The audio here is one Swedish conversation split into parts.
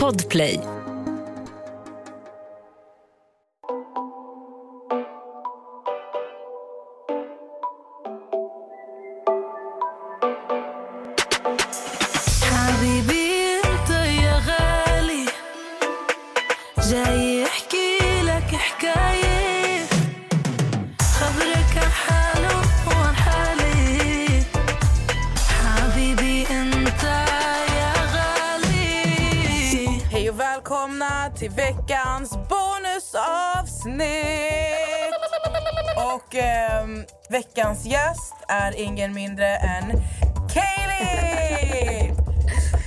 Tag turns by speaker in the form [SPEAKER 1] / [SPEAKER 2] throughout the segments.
[SPEAKER 1] Podplay.
[SPEAKER 2] حبيبي انت يا غالي جاي احكي لك حكاية خبرك عن حاله وعن حالي حبيبي انت يا غالي
[SPEAKER 3] Hej och välkomna till veckans bonusavsnitt! Och ehm, veckans gäst är ingen mindre än Kaeli!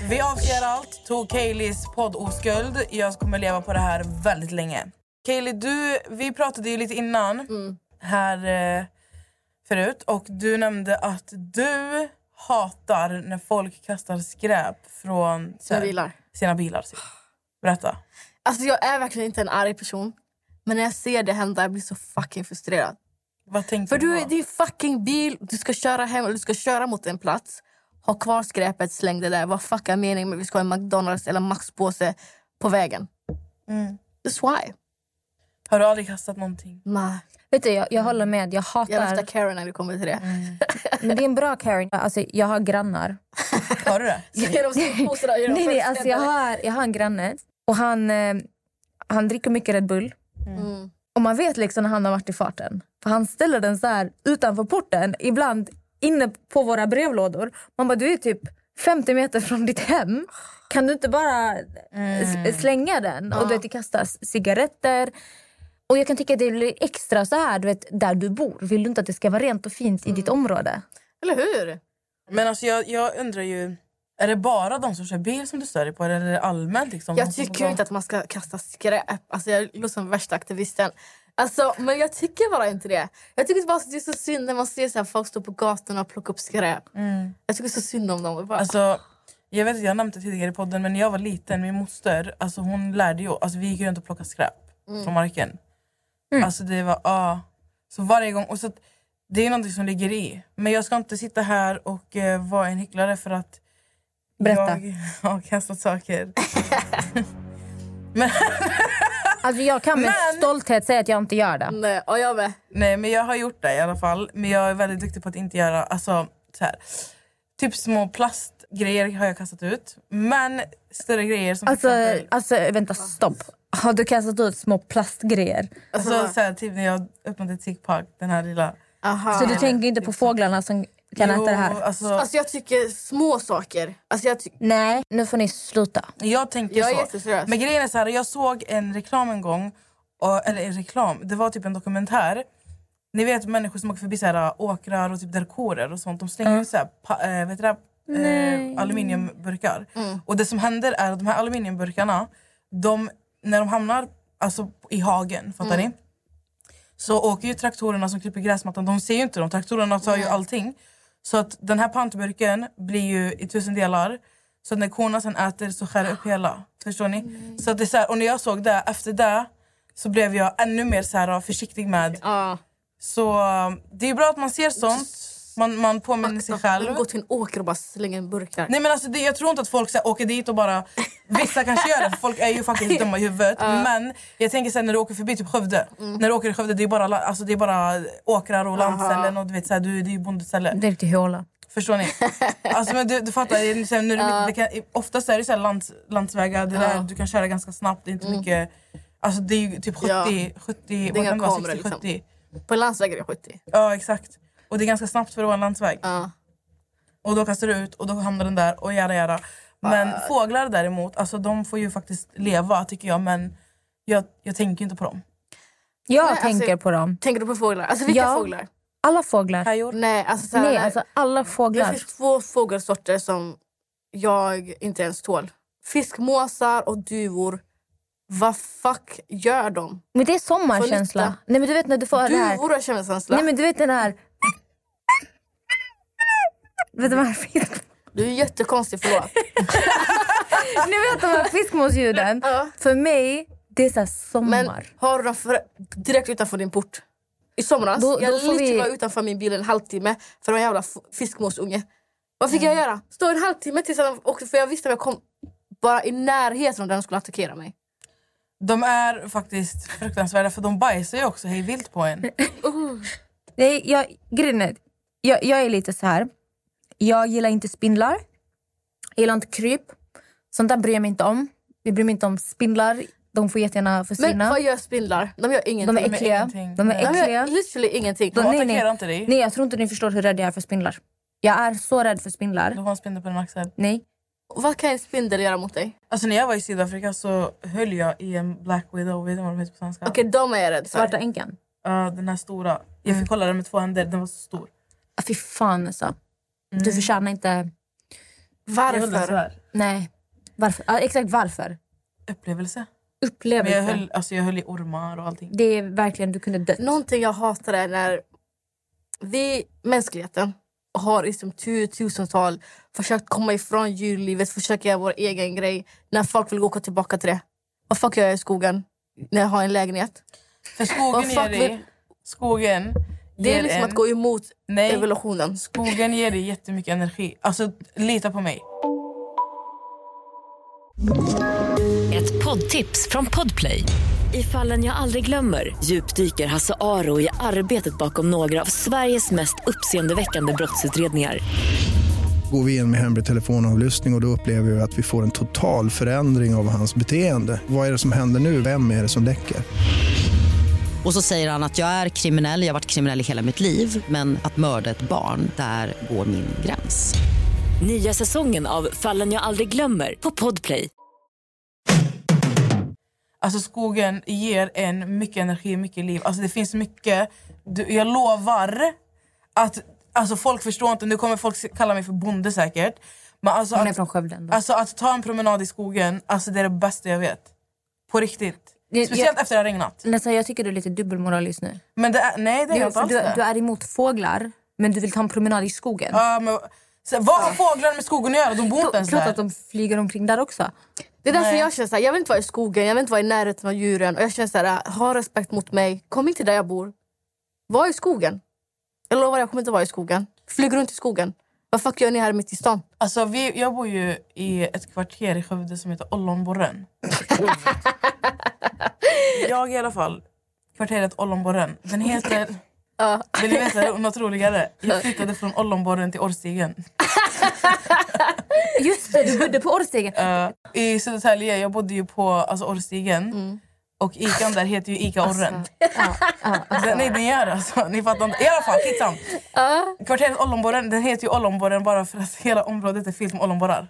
[SPEAKER 3] Vi avslöjar allt, tog Kaylis poddoskuld. Jag kommer leva på det här väldigt länge. Kaeli, du, vi pratade ju lite innan
[SPEAKER 4] Mm.
[SPEAKER 3] här eh, förut och du nämnde att du hatar när folk kastar skräp från så här,
[SPEAKER 4] Sina bilar.
[SPEAKER 3] sina bilar. Typ. Berätta.
[SPEAKER 4] Alltså jag är verkligen inte en arg person. Men när jag ser det hända jag blir så fucking frustrerad.
[SPEAKER 3] Vad tänkte
[SPEAKER 4] För du,
[SPEAKER 3] på?
[SPEAKER 4] det är ju fucking bil, du ska köra hem eller du ska köra mot en plats. Ha kvar skräpet, släng det där. Vad fuck är meningen med att vi ska ha en McDonalds eller Max-påse på vägen?
[SPEAKER 3] Mm.
[SPEAKER 4] That's why.
[SPEAKER 3] Har du aldrig kastat någonting?
[SPEAKER 4] Nej.
[SPEAKER 5] Vet du, jag, jag håller med. Jag
[SPEAKER 4] Jag är
[SPEAKER 5] hatar...
[SPEAKER 4] värsta Karen när det kommer till det.
[SPEAKER 5] Mm. men det är en bra Karen. Alltså, jag har grannar.
[SPEAKER 3] Har du det?
[SPEAKER 4] Ge dem sopposorna, ge dem
[SPEAKER 5] Nej, nej, alltså, jag,
[SPEAKER 4] förställare.
[SPEAKER 5] har, jag har en granne och han, eh, han dricker mycket Red Bull.
[SPEAKER 4] Mm.
[SPEAKER 5] Och man vet liksom när han har varit i farten. För han ställer den så här utanför porten, ibland inne på våra brevlådor. Man bara, du är typ 50 meter från ditt hem. Kan du inte bara s- slänga den? Och du vet, det kastas cigaretter. Och jag kan tycka att det är extra så här, du vet, där du bor. Vill du inte att det ska vara rent och fint i ditt område?
[SPEAKER 4] Eller hur?
[SPEAKER 3] Men alltså jag, jag undrar ju, är det bara de som kör bil som du stör dig på eller är det allmänt? Liksom, de
[SPEAKER 4] Jag
[SPEAKER 3] som-
[SPEAKER 4] tycker ju inte att man ska kasta skräp. Alltså jag låter som värsta aktivisten. Alltså, men jag tycker bara inte det. Jag tycker bara att det är så synd när man ser så här folk stå på gatorna och plocka upp skräp.
[SPEAKER 3] Mm.
[SPEAKER 4] Jag tycker så synd om dem. Jag Bara,
[SPEAKER 3] Alltså, jag vet att jag har nämnt det tidigare i podden men när jag var liten, min moster, alltså hon lärde ju, alltså vi gick ju runt och plockade skräp
[SPEAKER 4] Mm.
[SPEAKER 3] från marken. Alltså det var, ja. så varje gång, och så att, det är någonting som ligger i. Men jag ska inte sitta här och eh, vara en hycklare för att
[SPEAKER 5] Berätta.
[SPEAKER 3] jag har kastat saker.
[SPEAKER 5] Alltså, jag kan med
[SPEAKER 3] Men-
[SPEAKER 5] stolthet säga att jag inte gör det.
[SPEAKER 4] nej, och jag med.
[SPEAKER 3] Nej men jag har gjort det i alla fall. Men jag är väldigt duktig på att inte göra, alltså så här. Typ små plastgrejer har jag kastat ut. Men större grejer som
[SPEAKER 5] Alltså,
[SPEAKER 3] till exempel,
[SPEAKER 5] alltså vänta, stopp. Har du kastat ut små plastgrejer?
[SPEAKER 3] alltså, så här, typ när jag öppnade Tig Park, den här lilla.
[SPEAKER 4] Aha.
[SPEAKER 5] Så du tänker inte på fåglarna som kan äta det här?
[SPEAKER 3] Alltså,
[SPEAKER 4] Alltså jag tycker små saker. Alltså jag, ty-
[SPEAKER 5] Nej, nu får ni sluta.
[SPEAKER 3] jag tänker
[SPEAKER 4] jag är
[SPEAKER 3] så.
[SPEAKER 4] jätteseriös.
[SPEAKER 3] Men grejen är så här, jag såg en reklam en gång, och, eller en reklam, det var typ en dokumentär. Ni vet människor som åker förbi så här, åkrar och typ där kårer och sånt, de slänger ut så här, pa, eh, vet du det, här, eh, aluminiumburkar.
[SPEAKER 4] Mm.
[SPEAKER 3] Och det som händer är att de här aluminiumburkarna, de, när de hamnar alltså, i hagen, fattar
[SPEAKER 4] Mm.
[SPEAKER 3] ni? Så åker ju traktorerna som klipper gräsmattan, de ser ju inte dem, traktorerna tar ju allting. Så att den här pantburken blir ju i tusen delar. Så när korna sen äter så skär det upp hela. Förstår ni? Så att det är så här, och när jag såg det, efter det så blev jag ännu mer så här, ah, försiktig med.
[SPEAKER 4] Ja.
[SPEAKER 3] Så eh, det är bra att man ser sånt. Man, man påminner sig själv.
[SPEAKER 4] Gå till en åker och bara slänga en burk där.
[SPEAKER 3] Nej men alltså det, jag tror inte att folk så här, åker dit och bara... Vissa kanske gör det, för folk är ju faktiskt dumma i huvudet. Men jag tänker sen när du åker förbi typ Skövde.
[SPEAKER 4] Mm.
[SPEAKER 3] När du åker i Skövde det är bara, la- alltså, det är bara åkrar och landställen och du vet så här, du, det är ju bondeställe.
[SPEAKER 5] Det är riktigt håla.
[SPEAKER 3] Förstår ni? Alltså, men du, du fattar, det är så här, nu är det mitt, det kan, oftast är det så här lands, landsvägar det där, du kan köra ganska snabbt. Det är inte mycket... Alltså det är ju typ 70,
[SPEAKER 4] Mm. Ja.
[SPEAKER 3] 70
[SPEAKER 4] Det är inga
[SPEAKER 3] vad kan det vara,
[SPEAKER 4] kameror, liksom.
[SPEAKER 3] 60, 70.
[SPEAKER 4] På landsvägen är jag 70.
[SPEAKER 3] Ja exakt. Och det är ganska snabbt för att vara en landsväg.
[SPEAKER 4] Ja.
[SPEAKER 3] Och då kastar du ut och då hamnar den där och jada jada. Men fåglar däremot, alltså de får ju faktiskt leva tycker jag men jag, jag tänker ju inte på dem.
[SPEAKER 5] Jag
[SPEAKER 4] Nej, alltså-
[SPEAKER 5] tänker på dem.
[SPEAKER 4] Tänker du på fåglar? Alltså vilka
[SPEAKER 5] Ja.
[SPEAKER 4] fåglar?
[SPEAKER 5] Alla fåglar.
[SPEAKER 3] Kajor?
[SPEAKER 4] Nej, alltså, så här,
[SPEAKER 5] Nej, alltså alla
[SPEAKER 4] Det
[SPEAKER 5] fåglar.
[SPEAKER 4] finns två fågelsorter som jag inte ens tål. Fiskmåsar och duvor. Vad fuck gör de?
[SPEAKER 5] Men det är
[SPEAKER 4] Får
[SPEAKER 5] sommarkänsla.
[SPEAKER 4] lyfta.
[SPEAKER 5] Nej, men du vet när du får det här...
[SPEAKER 4] Duvor har känsla.
[SPEAKER 5] Nej, men du vet den här... Vet du de här fisk...
[SPEAKER 4] Du är jättekonstig, förlåt.
[SPEAKER 5] Ni vet de här fiskmåsljuden?
[SPEAKER 4] Ja.
[SPEAKER 5] För mig, det är så här sommar.
[SPEAKER 4] Men har du dem för, direkt utanför din port? I somras,
[SPEAKER 5] Då-
[SPEAKER 4] jag
[SPEAKER 5] då får vi-
[SPEAKER 4] literally var utanför min bil en halvtimme för en jävla f- fiskmåsunge. Vad fick jag göra? Stå en halvtimme tills han åkte för jag visste att jag kom bara i närheten av den skulle attackera mig.
[SPEAKER 3] De är faktiskt fruktansvärda för de bajsar ju också hej vilt på en.
[SPEAKER 5] Nej, jag, grejen är, jag, jag är lite så här. Jag gillar inte spindlar. Jag gillar inte kryp. Sånt där bryr jag mig inte om. Vi bryr mig inte om spindlar. De får jättegärna
[SPEAKER 4] Men
[SPEAKER 5] försvinna.
[SPEAKER 4] vad gör spindlar? De gör ingenting.
[SPEAKER 5] de är
[SPEAKER 3] gör
[SPEAKER 5] äckliga.
[SPEAKER 3] ingenting.
[SPEAKER 5] De
[SPEAKER 3] Nej.
[SPEAKER 5] är
[SPEAKER 4] De
[SPEAKER 5] äckliga.
[SPEAKER 4] gör literally ingenting.
[SPEAKER 5] De-
[SPEAKER 3] De
[SPEAKER 5] nej, nej.
[SPEAKER 3] attackerar inte dig.
[SPEAKER 5] Nej, jag tror inte ni förstår hur rädd jag är för spindlar. Jag är så rädd för
[SPEAKER 3] Du
[SPEAKER 5] spindlar.
[SPEAKER 3] har en spindel på din axel.
[SPEAKER 5] Nej.
[SPEAKER 4] Vad kan en spindel göra mot dig?
[SPEAKER 3] Alltså när jag var i Sydafrika så höll jag i en black widow. Vet du vad de heter på svenska?
[SPEAKER 4] Okej, de är jag rädd för.
[SPEAKER 5] Svarta änkan.
[SPEAKER 3] Ja, den här stora. Jag
[SPEAKER 4] Mm.
[SPEAKER 3] fick kolla den med två händer. Den var så stor.
[SPEAKER 5] Ah, Fy fan alltså.
[SPEAKER 3] Mm.
[SPEAKER 5] Du förtjänar inte...
[SPEAKER 3] Jag höll den så
[SPEAKER 4] Varför?
[SPEAKER 3] här.
[SPEAKER 5] Nej. Varför? Ja, exakt varför.
[SPEAKER 3] Upplevelse. Men jag
[SPEAKER 5] Upplevelse.
[SPEAKER 3] höll, alltså jag höll i ormar och allting.
[SPEAKER 5] Det är verkligen... Du kunde dött.
[SPEAKER 4] Någonting jag hatar är när vi, mänskligheten, har liksom tiotusental försökt komma ifrån djurlivet, försöka göra vår egen grej. När folk vill åka tillbaka till det. Vad fuck gör jag i skogen när jag har en lägenhet?
[SPEAKER 3] För
[SPEAKER 4] Vad
[SPEAKER 3] skogen
[SPEAKER 4] fuck
[SPEAKER 3] ger dig...
[SPEAKER 4] vill-
[SPEAKER 3] Skogen
[SPEAKER 4] Det
[SPEAKER 3] ger
[SPEAKER 4] är liksom
[SPEAKER 3] en,
[SPEAKER 4] att gå emot
[SPEAKER 3] Nej.
[SPEAKER 4] evolutionen.
[SPEAKER 3] Skogen ger dig jättemycket energi. Alltså lita på mig.
[SPEAKER 1] Ett poddtips från Podplay. I fallen jag aldrig glömmer djupdyker Hasse Aro i arbetet bakom några av Sveriges mest uppseendeväckande brottsutredningar.
[SPEAKER 6] Går vi in med hemlig telefonavlyssning och, och då upplever vi att vi får en total förändring av hans beteende. Vad är det som händer nu? Vem är det som läcker?
[SPEAKER 7] Och så säger han att jag är kriminell, jag har varit kriminell i hela mitt liv men att mörda ett barn, där går min gräns.
[SPEAKER 1] Nya säsongen av Fallen jag aldrig glömmer på Podplay.
[SPEAKER 3] Alltså skogen ger en mycket energi, mycket liv. Alltså det finns mycket. Du, jag lovar att alltså folk förstår inte. Nu kommer folk kalla mig för bonde säkert. Men alltså,
[SPEAKER 5] Hon är
[SPEAKER 3] att,
[SPEAKER 5] från Skövde ändå.
[SPEAKER 3] alltså att ta en promenad i skogen, alltså det är det bästa jag vet. På riktigt.
[SPEAKER 5] Det-
[SPEAKER 3] Speciellt
[SPEAKER 5] jag-
[SPEAKER 3] efter det har regnat.
[SPEAKER 5] Nästan, jag tycker du är lite dubbelmoral just nu.
[SPEAKER 3] Men det är, nej det är
[SPEAKER 5] Du,
[SPEAKER 3] jag inte
[SPEAKER 5] för
[SPEAKER 3] alls
[SPEAKER 5] du,
[SPEAKER 3] det.
[SPEAKER 5] du är emot fåglar, men du vill ta en promenad i skogen.
[SPEAKER 3] Ja, men, så, vad har fåglar med skogen att göra? De bor inte ens
[SPEAKER 5] Klart att
[SPEAKER 3] där.
[SPEAKER 5] de flyger omkring där också.
[SPEAKER 4] Det är därför jag känner såhär, jag vill inte vara i skogen, jag vill inte vara i närheten av djuren. Och jag känner såhär, ha respekt mot mig. Kom inte där jag bor. Var i skogen. Jag lovar, jag kommer inte vara i skogen. Flyg runt i skogen. Vad fuck gör ni här mitt i stan?
[SPEAKER 3] Alltså, vi, jag bor ju i ett kvarter i Skövde som heter Ollonborren. jag i alla fall. Kvarteret Ollonborren. Den heter...
[SPEAKER 4] Ja.
[SPEAKER 3] Vill ni veta något roligare? Jag flyttade från Ollonborren till Orrstigen.
[SPEAKER 5] Just det, du bodde på Orrstegen.
[SPEAKER 3] Eh, I Södertälje, jag bodde ju på alltså, Orrstigen.
[SPEAKER 4] Mm.
[SPEAKER 3] Och Ican där heter ju Ica
[SPEAKER 4] Alltså.
[SPEAKER 3] Orren. Den, nej, den gör alltså. Ni fattar inte. I alla fall, skitsamt. Kvarteret Ollonborren, den heter ju Ollonborren bara för att hela området är fyllt med ollonborrar.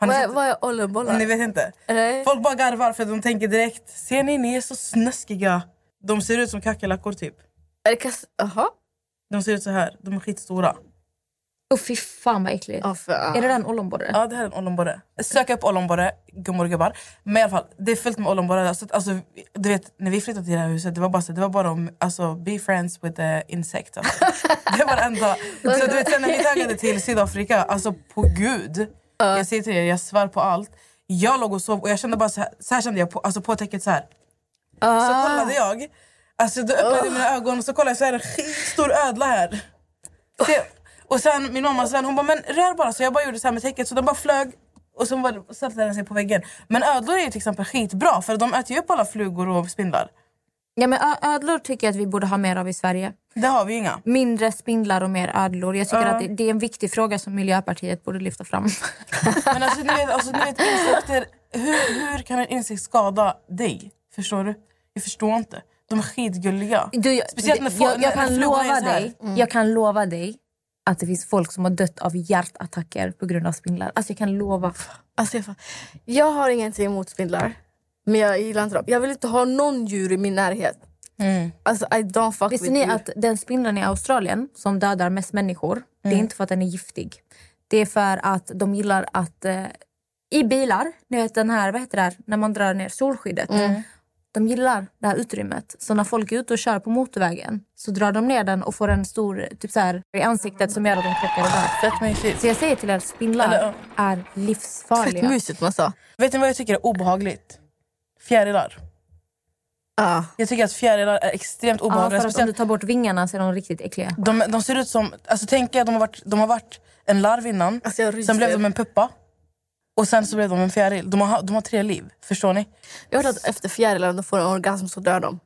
[SPEAKER 3] Har ni
[SPEAKER 4] Vad är,
[SPEAKER 3] sett-
[SPEAKER 4] vad är ollonbollar?
[SPEAKER 3] Ni vet inte?
[SPEAKER 4] Nej.
[SPEAKER 3] Folk bara garvar för de tänker direkt Ser ni, ni är så snaskiga. De ser ut som kackerlackor typ.
[SPEAKER 4] Är det kass... Jaha.
[SPEAKER 3] De ser ut så här. De är skitstora.
[SPEAKER 5] Åh fy fan vad äckligt.
[SPEAKER 4] Ja, för-
[SPEAKER 5] Är det den ollonborren?
[SPEAKER 3] Ja, det här är en ollonborre. Sök upp ollonborre, gummor och gubbar. Men i alla fall, det är fullt med ollonborrar. där. Så att, Alltså, du vet, när vi flyttade till det här huset, det var bara, så, det var bara om, alltså, be friends with the insect. Alltså. Det var det enda. Så du vet, sen när vi taggade till Sydafrika, alltså på gud. Jag säger till er, jag svär på allt. Jag låg och sov och jag kände bara så här, så här kände jag på, alltså, på täcket så här. Så kollade jag. Alltså då öppnade jag mina ögon och så kollade jag så här en skitstor ödla här. Se, och sen min mamma sen, hon bara men rör bara så jag bara gjorde så här med täcket så den bara flög och så bara satte den sig på väggen. Men ödlor är ju till exempel skitbra för de äter ju upp alla flugor och spindlar.
[SPEAKER 5] Ja, men ö- ödlor tycker jag att vi borde ha mer av i Sverige.
[SPEAKER 3] Det har vi ju inga.
[SPEAKER 5] Mindre spindlar och mer ödlor. Jag tycker att det, det är en viktig fråga som Miljöpartiet borde lyfta fram.
[SPEAKER 3] Men alltså ni vet, alltså, ni vet insekter, hur, hur kan en insekt skada dig? Förstår du? Jag förstår inte. De är skitgulliga.
[SPEAKER 5] Du, jag,
[SPEAKER 3] Speciellt när, få-
[SPEAKER 5] jag, jag,
[SPEAKER 3] när,
[SPEAKER 5] kan
[SPEAKER 3] när flugorna är
[SPEAKER 5] lova
[SPEAKER 3] så här. Mm.
[SPEAKER 5] dig, jag kan lova dig att det finns folk som har dött av hjärtattacker på grund av spindlar. Alltså jag kan lova.
[SPEAKER 4] Alltså, jag, fan- jag har ingenting emot spindlar. Men jag gillar inte dem. Jag vill inte ha någon djur i min närhet. Alltså I don't fuck
[SPEAKER 5] Visste
[SPEAKER 4] with
[SPEAKER 5] ni
[SPEAKER 4] you.
[SPEAKER 5] att den spindeln i Australien som dödar mest människor, det är inte för att den är giftig. Det är för att de gillar att eh, i bilar, ni vet den här, vad heter det här, när man drar ner solskyddet. De gillar det här utrymmet. Så när folk är ute och kör på motorvägen så drar de ner den och får en stor typ så här, i ansiktet som gör att de krockar och dör.
[SPEAKER 3] Fett mysigt.
[SPEAKER 5] Så jag säger till er, spindlar
[SPEAKER 3] Eller,
[SPEAKER 5] är
[SPEAKER 4] Fett
[SPEAKER 5] livsfarliga.
[SPEAKER 4] mysigt man sa.
[SPEAKER 3] Vet ni vad jag tycker är obehagligt? Fjärilar.
[SPEAKER 4] Ah.
[SPEAKER 3] Jag tycker att fjärilar är extremt
[SPEAKER 5] Ja, för
[SPEAKER 3] obehagliga.
[SPEAKER 5] att om du
[SPEAKER 3] speciellt,
[SPEAKER 5] tar bort vingarna så är de riktigt äckliga.
[SPEAKER 3] de, de ser ut som... Alltså, tänk er att de har, varit, de har varit en larv innan,
[SPEAKER 4] Alltså, jag ryser.
[SPEAKER 3] sen blev de en puppa. Och sen så blev de en fjäril. De har, de har tre liv, förstår ni?
[SPEAKER 4] Jag hörde att efter fjärilar, om de får en orgasm så dör de.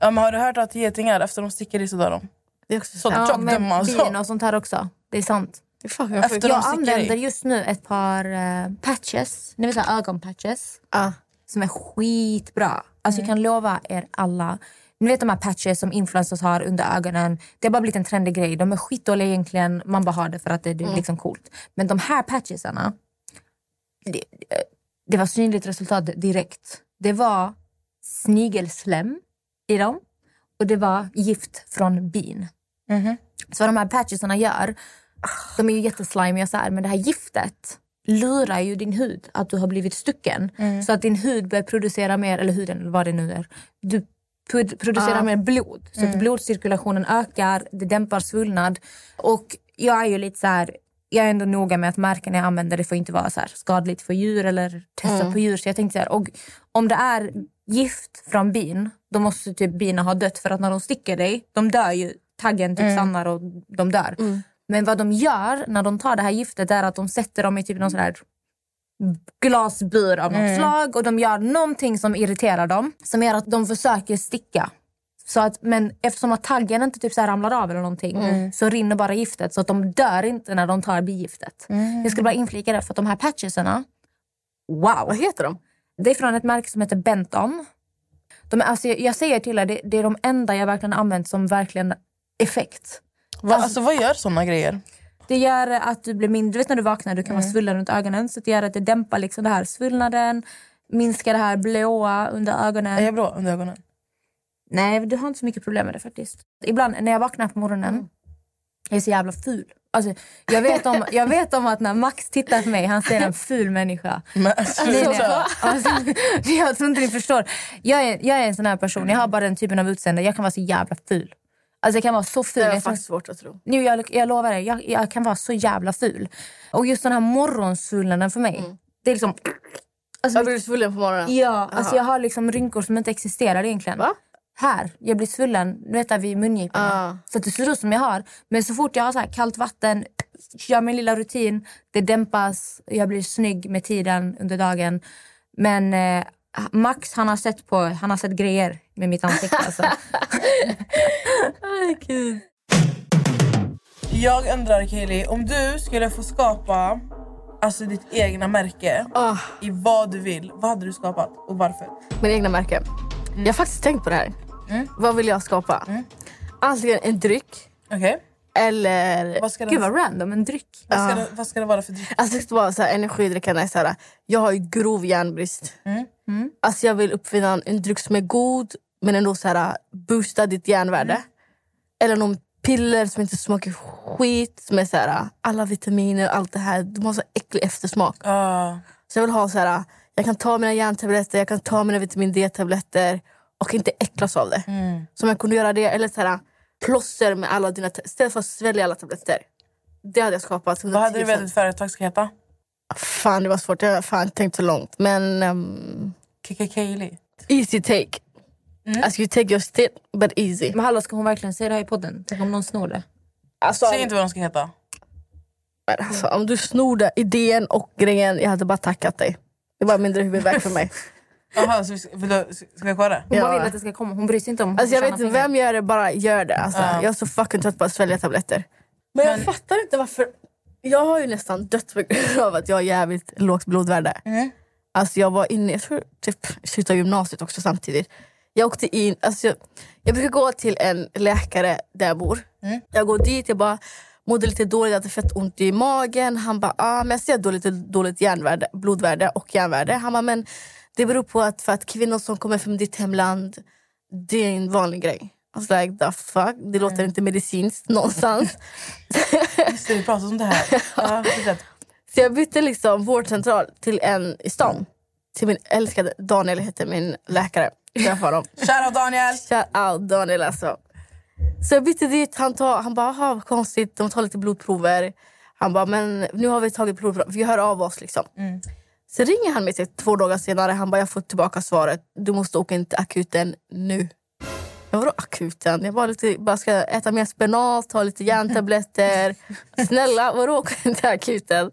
[SPEAKER 3] Ja, men har du hört att getingar, efter de sticker i så dör de?
[SPEAKER 4] Det är också
[SPEAKER 3] Så
[SPEAKER 4] så.
[SPEAKER 3] ja,
[SPEAKER 5] Ja,
[SPEAKER 3] tjock
[SPEAKER 5] men
[SPEAKER 3] dumma och
[SPEAKER 5] bin
[SPEAKER 3] så.
[SPEAKER 5] och sånt här också. Det är sant.
[SPEAKER 4] Det är fan vad
[SPEAKER 3] Efter
[SPEAKER 4] sjukt.
[SPEAKER 3] de
[SPEAKER 5] Jag
[SPEAKER 3] sticker
[SPEAKER 5] använder
[SPEAKER 3] i.
[SPEAKER 5] just nu ett par eh, patches, ni vet så här, ögonpatches,
[SPEAKER 4] Ja.
[SPEAKER 5] som är skitbra. Alltså, Jag
[SPEAKER 3] Mm.
[SPEAKER 5] kan lova er alla. Ni vet de här patches som influencers har under ögonen. Det har bara blivit en trendig grej. De är skitdåliga egentligen. Man bara har det för att det, det är
[SPEAKER 3] Mm.
[SPEAKER 5] liksom coolt. Men de här patchesarna, det, det var synligt resultat direkt. Det var snigelslem i dem och det var gift från bin. Så vad de här patchesarna gör, de är ju jätteslimiga så här, men det här giftet lurar ju din hud att du har blivit stucken. Så att din hud börjar producera mer, eller huden eller vad det nu är. Du pu- producerar mer blod. Så att blodcirkulationen ökar, det dämpar svullnad. Och jag är ju lite så här, jag är ändå noga med att märken jag använder det får inte vara så här skadligt för djur eller testa på djur. Så jag tänkte så här, och om det är gift från bin, då måste typ bina ha dött. För att när de sticker dig, de dör ju. Taggen typ stannar och de dör. Men vad de gör när de tar det här giftet är att de sätter dem i typ någon sån här glasbur av något slag och de gör någonting som irriterar dem som gör att de försöker sticka. Så att, men eftersom att taggen inte typ så här ramlar av eller någonting
[SPEAKER 4] Mm.
[SPEAKER 5] så rinner bara giftet så att de dör inte när de tar bigiftet.
[SPEAKER 4] Mm.
[SPEAKER 5] Jag skulle bara inflika det för att de här patchesarna, wow!
[SPEAKER 4] Vad heter de?
[SPEAKER 5] Det är från ett märke som heter Benton. De, är- alltså, jag, jag säger till er, det, det är de enda jag verkligen har använt som verkligen effekt.
[SPEAKER 3] Va, alltså vad gör såna grejer?
[SPEAKER 5] Det gör att du blir mindre, du vet när du vaknar, du kan
[SPEAKER 4] Mm.
[SPEAKER 5] vara svullen runt ögonen. Så det gör att det dämpar liksom det här svullnaden, minskar det här blåa under ögonen.
[SPEAKER 3] Är jag blå under ögonen?
[SPEAKER 5] Nej, du har inte så mycket problem med det faktiskt. Ibland när jag vaknar på morgonen,
[SPEAKER 3] Mm.
[SPEAKER 5] jag är så jävla ful. Alltså, jag, vet om, jag vet om att när Max tittar på mig, han ser en ful människa.
[SPEAKER 3] Men, alltså,
[SPEAKER 5] Det är det.
[SPEAKER 3] så.
[SPEAKER 5] Alltså, jag tror inte ni förstår. Jag är, jag är en sån här person, jag har bara den typen av utseende. Jag kan vara så jävla ful. Alltså jag kan vara så
[SPEAKER 4] Det
[SPEAKER 5] ful.
[SPEAKER 4] är
[SPEAKER 5] Jag kan-
[SPEAKER 4] faktiskt svårt att tro.
[SPEAKER 5] nu, jag, jag lovar dig, jag, jag kan vara så jävla ful. Och just den här morgonsvullnaden för mig.
[SPEAKER 3] Mm.
[SPEAKER 5] Det är liksom... Alltså,
[SPEAKER 4] Jag blir svullen på morgonen.
[SPEAKER 5] ja, alltså jag har liksom rynkor som inte existerar egentligen.
[SPEAKER 4] Va?
[SPEAKER 5] Här, jag blir svullen, du vet där vid mungiporna.
[SPEAKER 4] Ah.
[SPEAKER 5] Så att det ser ut som jag har. Men så fort jag har så här kallt vatten, gör min lilla rutin, det dämpas, jag blir snygg med tiden under dagen. Men eh, Max han har, sett på, han har sett grejer med mitt ansikte. Alltså.
[SPEAKER 3] Jag undrar Kaeli, om du skulle få skapa alltså, ditt egna märke
[SPEAKER 4] Ah,
[SPEAKER 3] i vad du vill, vad hade du skapat och varför?
[SPEAKER 4] mina egna märken. Jag har faktiskt tänkt på det här. Vad vill jag skapa? Antingen en dryck
[SPEAKER 3] Okej?
[SPEAKER 4] eller...
[SPEAKER 3] Vad, ska
[SPEAKER 5] Gud
[SPEAKER 3] det-
[SPEAKER 5] vad random, en dryck.
[SPEAKER 3] vad, ska det- vad ska det vara för dryck?
[SPEAKER 4] Alltså det ska vara så här, energidrickarna är så här, jag har ju grov järnbrist. Alltså jag vill uppfinna en, en dryck som är god men ändå så här, boosta ditt järnvärde. Eller någon piller som inte smakar skit, som är så här, alla vitaminer och allt det här. De har så äcklig eftersmak.
[SPEAKER 3] Ah,
[SPEAKER 4] Så jag vill ha så här, jag kan ta mina järntabletter, jag kan ta mina vitamin D-tabletter och inte äcklas av det.
[SPEAKER 3] Mm.
[SPEAKER 4] Så om jag kunde göra det, eller så här, plåster med alla dina, ta- istället för att svälja alla tabletter. Det hade jag skapat.
[SPEAKER 3] vad hade du
[SPEAKER 4] 110%.
[SPEAKER 3] velat ditt företag ska heta?
[SPEAKER 4] Fan, det var svårt. Jag har fan tänkt så långt. Men ehm,
[SPEAKER 3] Kika Kaeli.
[SPEAKER 4] easy take.
[SPEAKER 3] Mm.
[SPEAKER 4] Alltså, you take your step, but easy.
[SPEAKER 5] Men hallå, ska hon verkligen säga det här i podden? Tänk om någon snor det?
[SPEAKER 4] Alltså,
[SPEAKER 3] Säg inte vad de ska heta.
[SPEAKER 4] alltså, om du snodde idén och grejen, jag hade bara tackat dig. Det var mindre huvudvärk för mig.
[SPEAKER 3] Jaha, så vi ska, vill du, ska jag kolla?
[SPEAKER 5] Hon bara
[SPEAKER 4] Ja.
[SPEAKER 5] vill att det ska komma. Hon bryr sig inte om
[SPEAKER 4] Alltså, jag
[SPEAKER 5] hon
[SPEAKER 4] vet inte,
[SPEAKER 5] tjänar Liksom, pengar.
[SPEAKER 4] vem gör det, bara gör det. Alltså, Jag är så fucking trött på att svälja tabletter. Men jag fattar inte varför... Jag har ju nästan dött på grund av att jag har jävligt lågt blodvärde. Alltså jag var inne, jag tror typ i slutet av gymnasiet också samtidigt. Jag åkte in, alltså jag, jag brukar gå till en läkare där jag bor. Jag går dit, jag bara mådde lite dåligt, jag hade fett ont i magen. Han bara, ah, men jag ser dåligt, dåligt järnvärde, blodvärde och järnvärde. Han bara, men det beror på att, för att kvinnor som kommer från ditt hemland, det är en vanlig grej. I was like, the fuck? Det låter inte medicinskt någonstans.
[SPEAKER 3] Just det, vi pratar om det här. Ja, fortsätt.
[SPEAKER 4] Så jag bytte liksom vårdcentral till en i stan. Till min älskade Daniel, heter min läkare. Träffa honom.
[SPEAKER 3] Kära Daniel!
[SPEAKER 4] Shout out Daniel alltså. Så jag bytte dit. Han, tar, han bara, "Aha, vad konstigt. De tar lite blodprover. Han bara, men nu har vi tagit blodprover. Vi hör av oss liksom. Så ringer han mig typ två dagar senare. Han bara, jag får tillbaka svaret. Du måste åka in till akuten nu. Jag var akuten? Jag bara, lite, bara ska äta mer spenat, ta lite järntabletter. Snälla, vadå åka in till akuten?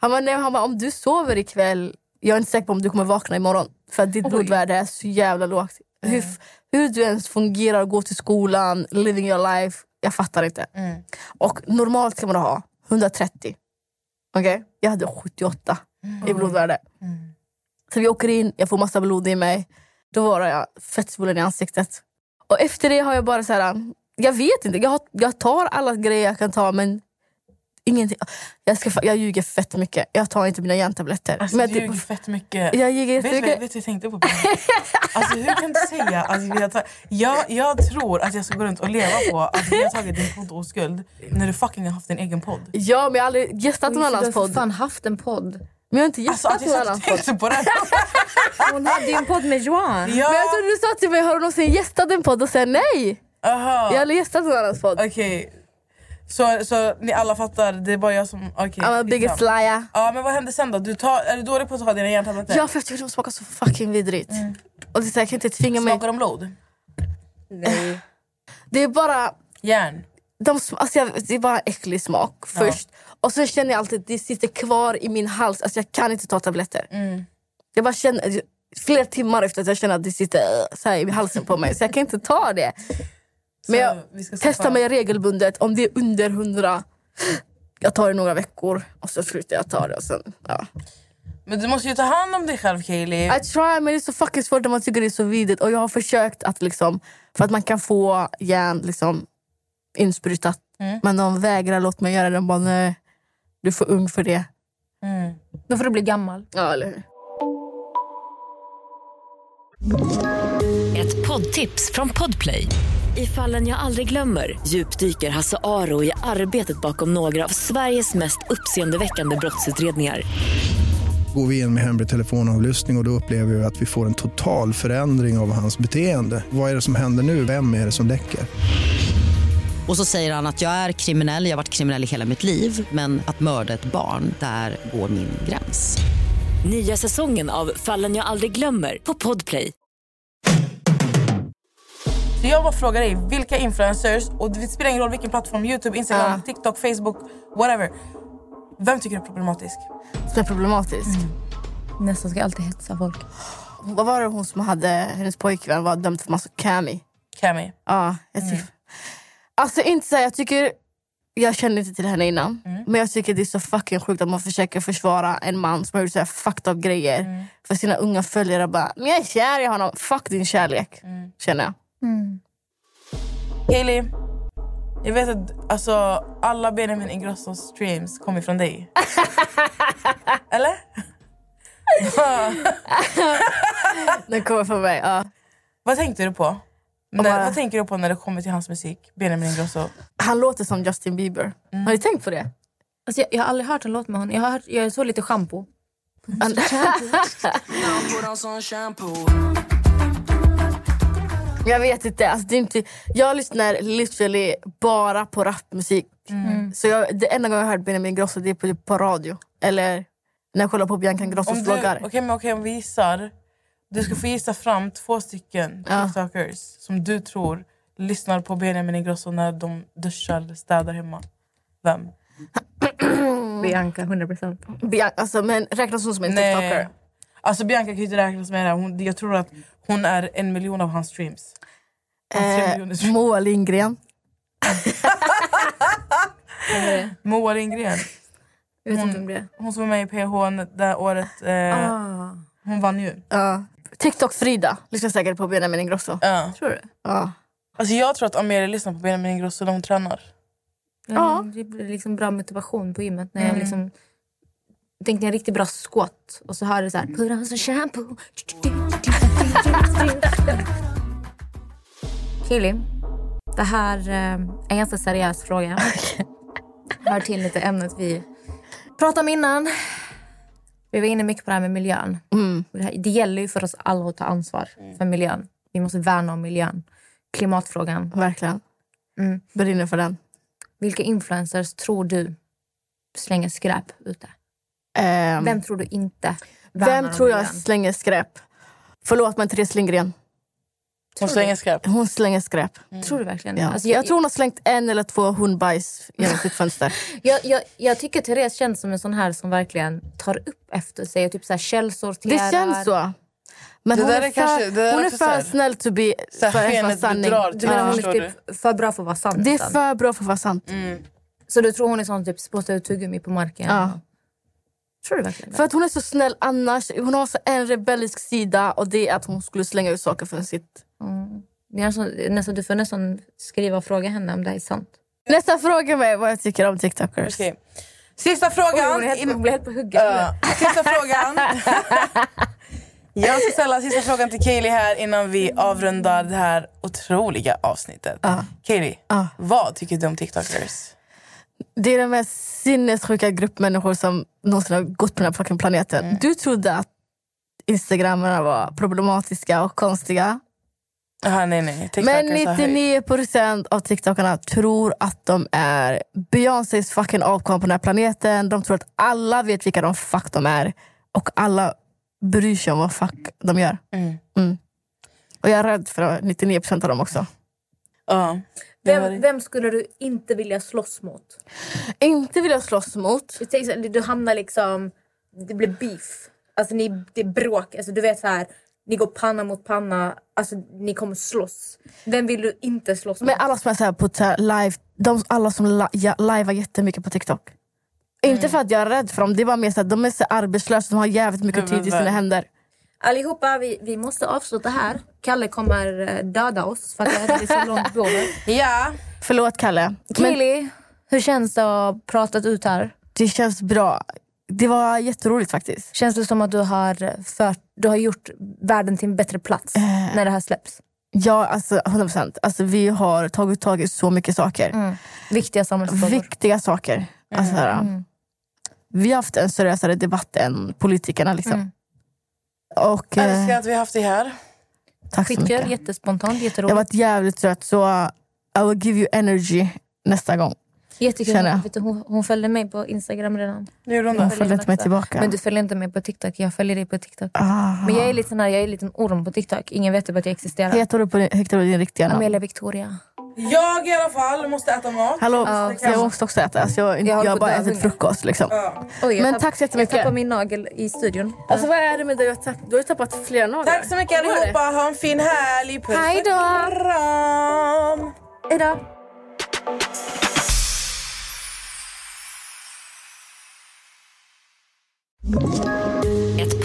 [SPEAKER 4] Han bara, nej, han bara, om du sover ikväll, jag är inte säker på om du kommer vakna imorgon. För att ditt blodvärde är så jävla lågt. Hur, f- hur du ens fungerar, går till skolan, living your life. Jag fattar inte.
[SPEAKER 3] Mm.
[SPEAKER 4] Och normalt ska man ha 130. Okej? Jag hade 78 i blodvärde. Mm. Så vi åker in, jag får massa blod i mig. Då var jag fett svullen i ansiktet. Och efter det har jag bara så här... Jag vet inte, jag, har, jag tar alla grejer jag kan ta men ingenting. Jag, ska, fa- jag ljuger fett mycket. Jag tar inte mina järntabletter.
[SPEAKER 3] Alltså,
[SPEAKER 4] men typ
[SPEAKER 3] du ljuger fett mycket.
[SPEAKER 4] jag ljuger
[SPEAKER 3] Vet du, vad, vet du
[SPEAKER 4] jättemycket.
[SPEAKER 3] vad jag tänkte på? Alltså, hur kan du säga att vi har tagit... Jag, jag tror att jag ska gå runt och leva på att vi har tagit din podd oskuld när du fucking har haft din egen podd.
[SPEAKER 4] Ja, men jag har aldrig gästat någon
[SPEAKER 5] Du har
[SPEAKER 4] annans
[SPEAKER 5] för
[SPEAKER 4] podd. Men
[SPEAKER 5] fan haft en podd.
[SPEAKER 4] jag har inte
[SPEAKER 3] Alltså
[SPEAKER 4] gästat
[SPEAKER 3] att
[SPEAKER 4] någon
[SPEAKER 3] jag satt
[SPEAKER 4] annans
[SPEAKER 3] och
[SPEAKER 4] podd.
[SPEAKER 3] tänkte på det.
[SPEAKER 5] Hon hade ju en podd med Johan.
[SPEAKER 3] Ja,
[SPEAKER 4] Men jag trodde du sa till mig, har du någonsin gästat en podd? Och säger nej!
[SPEAKER 3] aha.
[SPEAKER 4] Jag har aldrig gästat någon annans podd.
[SPEAKER 3] Okej. Så, så ni alla fattar, det är bara jag som... Okej.
[SPEAKER 4] I'm a biggest
[SPEAKER 3] skitsam.
[SPEAKER 4] liar.
[SPEAKER 3] Ja, men vad hände sen då? Du tar, är du dålig på att ta dina hjärntabletter?
[SPEAKER 4] Ja, för jag tycker de smakar så fucking vidrigt. Och det är så här, jag kan inte tvinga mig.
[SPEAKER 3] Mm. Smakar de blod?
[SPEAKER 5] Nej.
[SPEAKER 4] Det är bara...
[SPEAKER 3] Järn?
[SPEAKER 4] De, sm- alltså jag, det är bara äcklig smak
[SPEAKER 3] Ja.
[SPEAKER 4] först. Och sen känner jag alltid att det sitter kvar i min hals. Alltså jag kan inte ta tabletter.
[SPEAKER 3] Mm.
[SPEAKER 4] Jag bara känner, flera timmar efter att jag känner att det sitter äh, så här i halsen på mig. Så jag kan inte ta det.
[SPEAKER 3] Så
[SPEAKER 4] Men jag
[SPEAKER 3] vi ska skaffa-
[SPEAKER 4] testar mig regelbundet. Om det är under 100, jag tar det några veckor och så slutar jag ta det. Och sen, ja.
[SPEAKER 3] Men du måste ju ta hand om dig själv Kaeli.
[SPEAKER 4] I try, men det är så fucking svårt när man tycker det är så vidrigt. Och jag har försökt att liksom, för att man kan få järn liksom insprutat.
[SPEAKER 3] Mm.
[SPEAKER 4] Men de vägrar låta mig göra det. De bara, nej, du är för ung för det.
[SPEAKER 3] Mm.
[SPEAKER 5] Då får du bli gammal.
[SPEAKER 4] Ja, eller hur?
[SPEAKER 1] Ett poddtips från Podplay. I fallen jag aldrig glömmer djupdyker Hasse Aro i arbetet bakom några av Sveriges mest uppseendeväckande brottsutredningar.
[SPEAKER 6] Går vi in med hemlig telefonavlyssning och, och då upplever vi att vi får en total förändring av hans beteende. Vad är det som händer nu? Vem är det som läcker?
[SPEAKER 7] Och så säger han att jag är kriminell, jag har varit kriminell i hela mitt liv men att mörda ett barn, där går min gräns.
[SPEAKER 1] Nya säsongen av Fallen jag aldrig glömmer på Podplay.
[SPEAKER 3] Så jag bara frågar dig, vilka influencers, och det spelar ingen roll vilken plattform, Youtube, Instagram,
[SPEAKER 4] Ja.
[SPEAKER 3] TikTok, Facebook, whatever. Vem tycker du är problematisk?
[SPEAKER 4] Som är problematisk.
[SPEAKER 5] Nästan ska alltid hetsa folk.
[SPEAKER 4] Vad var det hon som hade, hennes pojkvän var dömd för massa kami?
[SPEAKER 3] Cami.
[SPEAKER 4] Ja, jag
[SPEAKER 3] Mm.
[SPEAKER 4] tycker... Alltså inte så här, jag tycker... Jag kände inte till henne innan.
[SPEAKER 3] Mm.
[SPEAKER 4] Men jag tycker det är så fucking sjukt att man försöker försvara en man som har gjort så här fucked up grejer
[SPEAKER 3] Mm.
[SPEAKER 4] för sina unga följare. Bara, men jag är kär i honom. Fuck din kärlek,
[SPEAKER 3] Mm.
[SPEAKER 4] känner jag.
[SPEAKER 3] Kaeli, jag vet att alltså, alla Benjamin Ingrossos streams kommer från dig. Eller?
[SPEAKER 4] Den kommer från mig. Ja.
[SPEAKER 3] Vad tänkte du på? När,
[SPEAKER 4] bara-
[SPEAKER 3] vad tänker du på när det kommer till hans musik? Benjamin Ingrosso.
[SPEAKER 4] Han låter som Justin Bieber.
[SPEAKER 3] Mm.
[SPEAKER 4] Har du tänkt på det?
[SPEAKER 5] Alltså jag, jag har aldrig hört en låt med honom. Jag, har hört, jag såg lite shampoo.
[SPEAKER 4] Han, jag vet inte. Alltså, det är inte jag lyssnar literally bara på rapmusik.
[SPEAKER 3] Mm.
[SPEAKER 4] Så jag, det enda gången jag har hört Benjamin Ingrosso det är på, på radio. Eller när jag kollar på Bianca Ingrossos
[SPEAKER 3] Om du,
[SPEAKER 4] vloggar.
[SPEAKER 3] okay, men okay, om vi gissar. Du ska få gissa fram två stycken
[SPEAKER 4] Ja.
[SPEAKER 3] tiktokers som du tror lyssnar på Benjamin Ingrosso när de duschar eller städar hemma. Vem?
[SPEAKER 5] Bianca, 100%.
[SPEAKER 4] Bian- alltså, men räknas hon som en tiktoker?
[SPEAKER 3] Alltså Bianca kan ju inte räknas med det. här. Hon, jag tror att hon är en miljon av hans streams. Hans tre miljoner
[SPEAKER 4] Eh,
[SPEAKER 3] streams.
[SPEAKER 4] Moa Lindgren.
[SPEAKER 3] Moa Lindgren.
[SPEAKER 5] Jag
[SPEAKER 3] Mm.
[SPEAKER 5] vet inte om det är.
[SPEAKER 3] Hon som var med i PH det här året. Eh,
[SPEAKER 5] Ah.
[SPEAKER 3] Hon vann ju.
[SPEAKER 4] Ja. TikTok-Frida lyssnar säkert på Benjamin Ingrosso.
[SPEAKER 3] Ja.
[SPEAKER 5] Tror du?
[SPEAKER 4] Ja.
[SPEAKER 3] Alltså jag tror att Amelia lyssnar på Benjamin Ingrosso när hon tränar.
[SPEAKER 5] Ja. Det blir liksom bra motivation på gymmet. När jag liksom, tänkte en riktigt bra squat och så hör du så här... Put on some shampoo. Kili, det här eh, är en ganska seriös fråga. Hör till lite ämnet vi pratade om innan. Vi var inne mycket på det här med miljön. Och Det, här, det gäller ju för oss alla att ta ansvar för miljön. Vi måste värna om miljön. Klimatfrågan.
[SPEAKER 4] Verkligen.
[SPEAKER 5] Mm.
[SPEAKER 4] Brinner för den.
[SPEAKER 5] Vilka influencers tror du slänger skräp ute?
[SPEAKER 4] Ehm,
[SPEAKER 5] Vem tror du inte värnar
[SPEAKER 4] Vem
[SPEAKER 5] om
[SPEAKER 4] tror jag
[SPEAKER 5] miljön?
[SPEAKER 4] slänger skräp? Förlåt, men Therese Lindgren.
[SPEAKER 3] Hon slänger skarpt.
[SPEAKER 4] Hon slänger skräp.
[SPEAKER 5] Tror du verkligen det?
[SPEAKER 4] Ja.
[SPEAKER 5] Alltså,
[SPEAKER 4] jag,
[SPEAKER 5] jag,
[SPEAKER 4] tror hon har slängt en eller två hundbajs genom sitt fönster.
[SPEAKER 5] jag, jag, jag tycker Therese känns som en sån här som verkligen tar upp efter sig och typ så här källsorterar.
[SPEAKER 4] Det känns så. Men
[SPEAKER 3] Det
[SPEAKER 4] hon
[SPEAKER 3] där
[SPEAKER 4] är,
[SPEAKER 3] är
[SPEAKER 4] för,
[SPEAKER 3] kanske- det där är
[SPEAKER 4] hon är
[SPEAKER 3] också så
[SPEAKER 4] för
[SPEAKER 3] här-
[SPEAKER 4] snäll to be,
[SPEAKER 3] Så här
[SPEAKER 4] för att vara
[SPEAKER 3] skenet
[SPEAKER 4] sanning.
[SPEAKER 3] bedrar
[SPEAKER 5] Du
[SPEAKER 3] typ.
[SPEAKER 5] menar
[SPEAKER 4] Ja.
[SPEAKER 5] hon
[SPEAKER 3] Förstår
[SPEAKER 5] är typ för bra för att vara sant?
[SPEAKER 4] Det är
[SPEAKER 5] nästan.
[SPEAKER 4] för bra för att vara sant.
[SPEAKER 3] Mm.
[SPEAKER 5] Så du tror hon är sån typ spottar ut tuggummi på marken?
[SPEAKER 4] Ja.
[SPEAKER 5] Tror du verkligen det?
[SPEAKER 4] För att hon är så snäll annars. Hon har så en rebellisk sida och det är att hon skulle slänga ut saker från sitt...
[SPEAKER 5] Mm. Det är alltså, nästan, du får nästan skriva och fråga henne om det här är sant.
[SPEAKER 4] Nästa fråga är vad jag tycker om TikTokers.
[SPEAKER 3] Okej. Sista frågan. in-
[SPEAKER 5] blir helt på hugget.
[SPEAKER 3] Ja. Sista frågan. Jag ska ställa sista frågan till Kaylee här innan vi avrundar det här otroliga avsnittet. Kaylee,
[SPEAKER 4] Ja.
[SPEAKER 3] vad tycker du om TikTokers?
[SPEAKER 4] Det är den mest sinnessjuka grupp människor som någonsin har gått på den här fucking planeten. Du trodde att instagrammarna var problematiska och konstiga.
[SPEAKER 3] Ah, nej, nej.
[SPEAKER 4] Men
[SPEAKER 3] TikTokers har höjt.
[SPEAKER 4] 99% av TikTokarna tror att de är Beyoncés fucking avkomma på den här planeten. De tror att alla vet vilka de fuck de är. Och alla bryr sig om vad fuck de gör.
[SPEAKER 3] Mm.
[SPEAKER 4] Mm. Och jag är rädd för 99% av dem också.
[SPEAKER 3] Ja. Det var
[SPEAKER 5] Vem,
[SPEAKER 3] det.
[SPEAKER 5] vem skulle du inte vilja slåss mot?
[SPEAKER 4] Inte vill jag slåss mot.
[SPEAKER 5] Du tänker så här, Du hamnar liksom... Det blir beef. Alltså ni, det är bråk. Alltså du vet så här, ni går panna mot panna. Alltså ni kommer slåss. Vem vill du inte slåss
[SPEAKER 4] Men
[SPEAKER 5] mot?
[SPEAKER 4] alla som är så här på så här live, de, alla som la, ja, livear jättemycket på TikTok. Inte för att jag är rädd för dem, det är bara mer så här, de är så här arbetslösa, de har jävligt mycket tid i sina händer.
[SPEAKER 5] Allihopa, vi, vi måste avsluta här. Kalle kommer eh, döda oss för att jag är så långt bort.
[SPEAKER 3] Ja.
[SPEAKER 4] Förlåt Kalle. Men-
[SPEAKER 5] Kili, hur känns det att ha pratat ut här?
[SPEAKER 4] Det känns bra. Det var jätteroligt faktiskt.
[SPEAKER 5] Känns det som att du har, eh, fört, du har gjort världen till en bättre plats när det här släpps?
[SPEAKER 4] Ja, alltså 100 procent. Alltså, vi har tagit tag i så mycket saker.
[SPEAKER 5] Mm. Viktiga samhällsfrågor.
[SPEAKER 4] Viktiga saker.
[SPEAKER 5] Mm,
[SPEAKER 4] Alltså, här, Vi har haft en seriösare debatt än politikerna. Liksom.
[SPEAKER 5] Mm.
[SPEAKER 4] Och, eh,
[SPEAKER 3] Älskar att vi har haft dig här.
[SPEAKER 4] tack så
[SPEAKER 5] Skitkul,
[SPEAKER 4] mycket.
[SPEAKER 5] jättespontant,
[SPEAKER 4] Jag har
[SPEAKER 5] jätteroligt.
[SPEAKER 4] varit jävligt trött, så uh, I will give you energy nästa gång.
[SPEAKER 5] Jättekul.
[SPEAKER 4] Känner jag.
[SPEAKER 5] Vet du, hon, hon följde mig på Instagram redan.
[SPEAKER 3] Nu gjorde hon
[SPEAKER 4] Hon
[SPEAKER 3] det.
[SPEAKER 4] följde inte mig tillbaka.
[SPEAKER 5] Men du följer inte mig på TikTok, jag följer dig på TikTok.
[SPEAKER 4] Ah.
[SPEAKER 5] Men jag är lite sån här, jag är en liten orm på TikTok. Ingen vet typ att jag existerar.
[SPEAKER 4] Heter du på din, heter du på din riktiga namn?
[SPEAKER 5] Amelia Victoria.
[SPEAKER 3] Jag i alla fall måste äta mat.
[SPEAKER 4] Hallå, jag måste också äta. Alltså, jag,
[SPEAKER 5] Jag
[SPEAKER 4] jag,
[SPEAKER 5] håller
[SPEAKER 4] har
[SPEAKER 5] på
[SPEAKER 4] bara
[SPEAKER 5] att dö
[SPEAKER 4] ätit
[SPEAKER 5] av
[SPEAKER 4] frukost. Liksom.
[SPEAKER 5] Oj, jag
[SPEAKER 4] Men
[SPEAKER 5] tapp-
[SPEAKER 4] tack så jättemycket.
[SPEAKER 5] Jag tappade min nagel i studion.
[SPEAKER 4] Alltså, vad är det med dig? Du har tappat, du har tappat flera naglar.
[SPEAKER 3] Tack så mycket allihopa. Ha en fin helg. Puss
[SPEAKER 5] Hej då.
[SPEAKER 3] och kram.
[SPEAKER 5] Hejdå!
[SPEAKER 1] Ett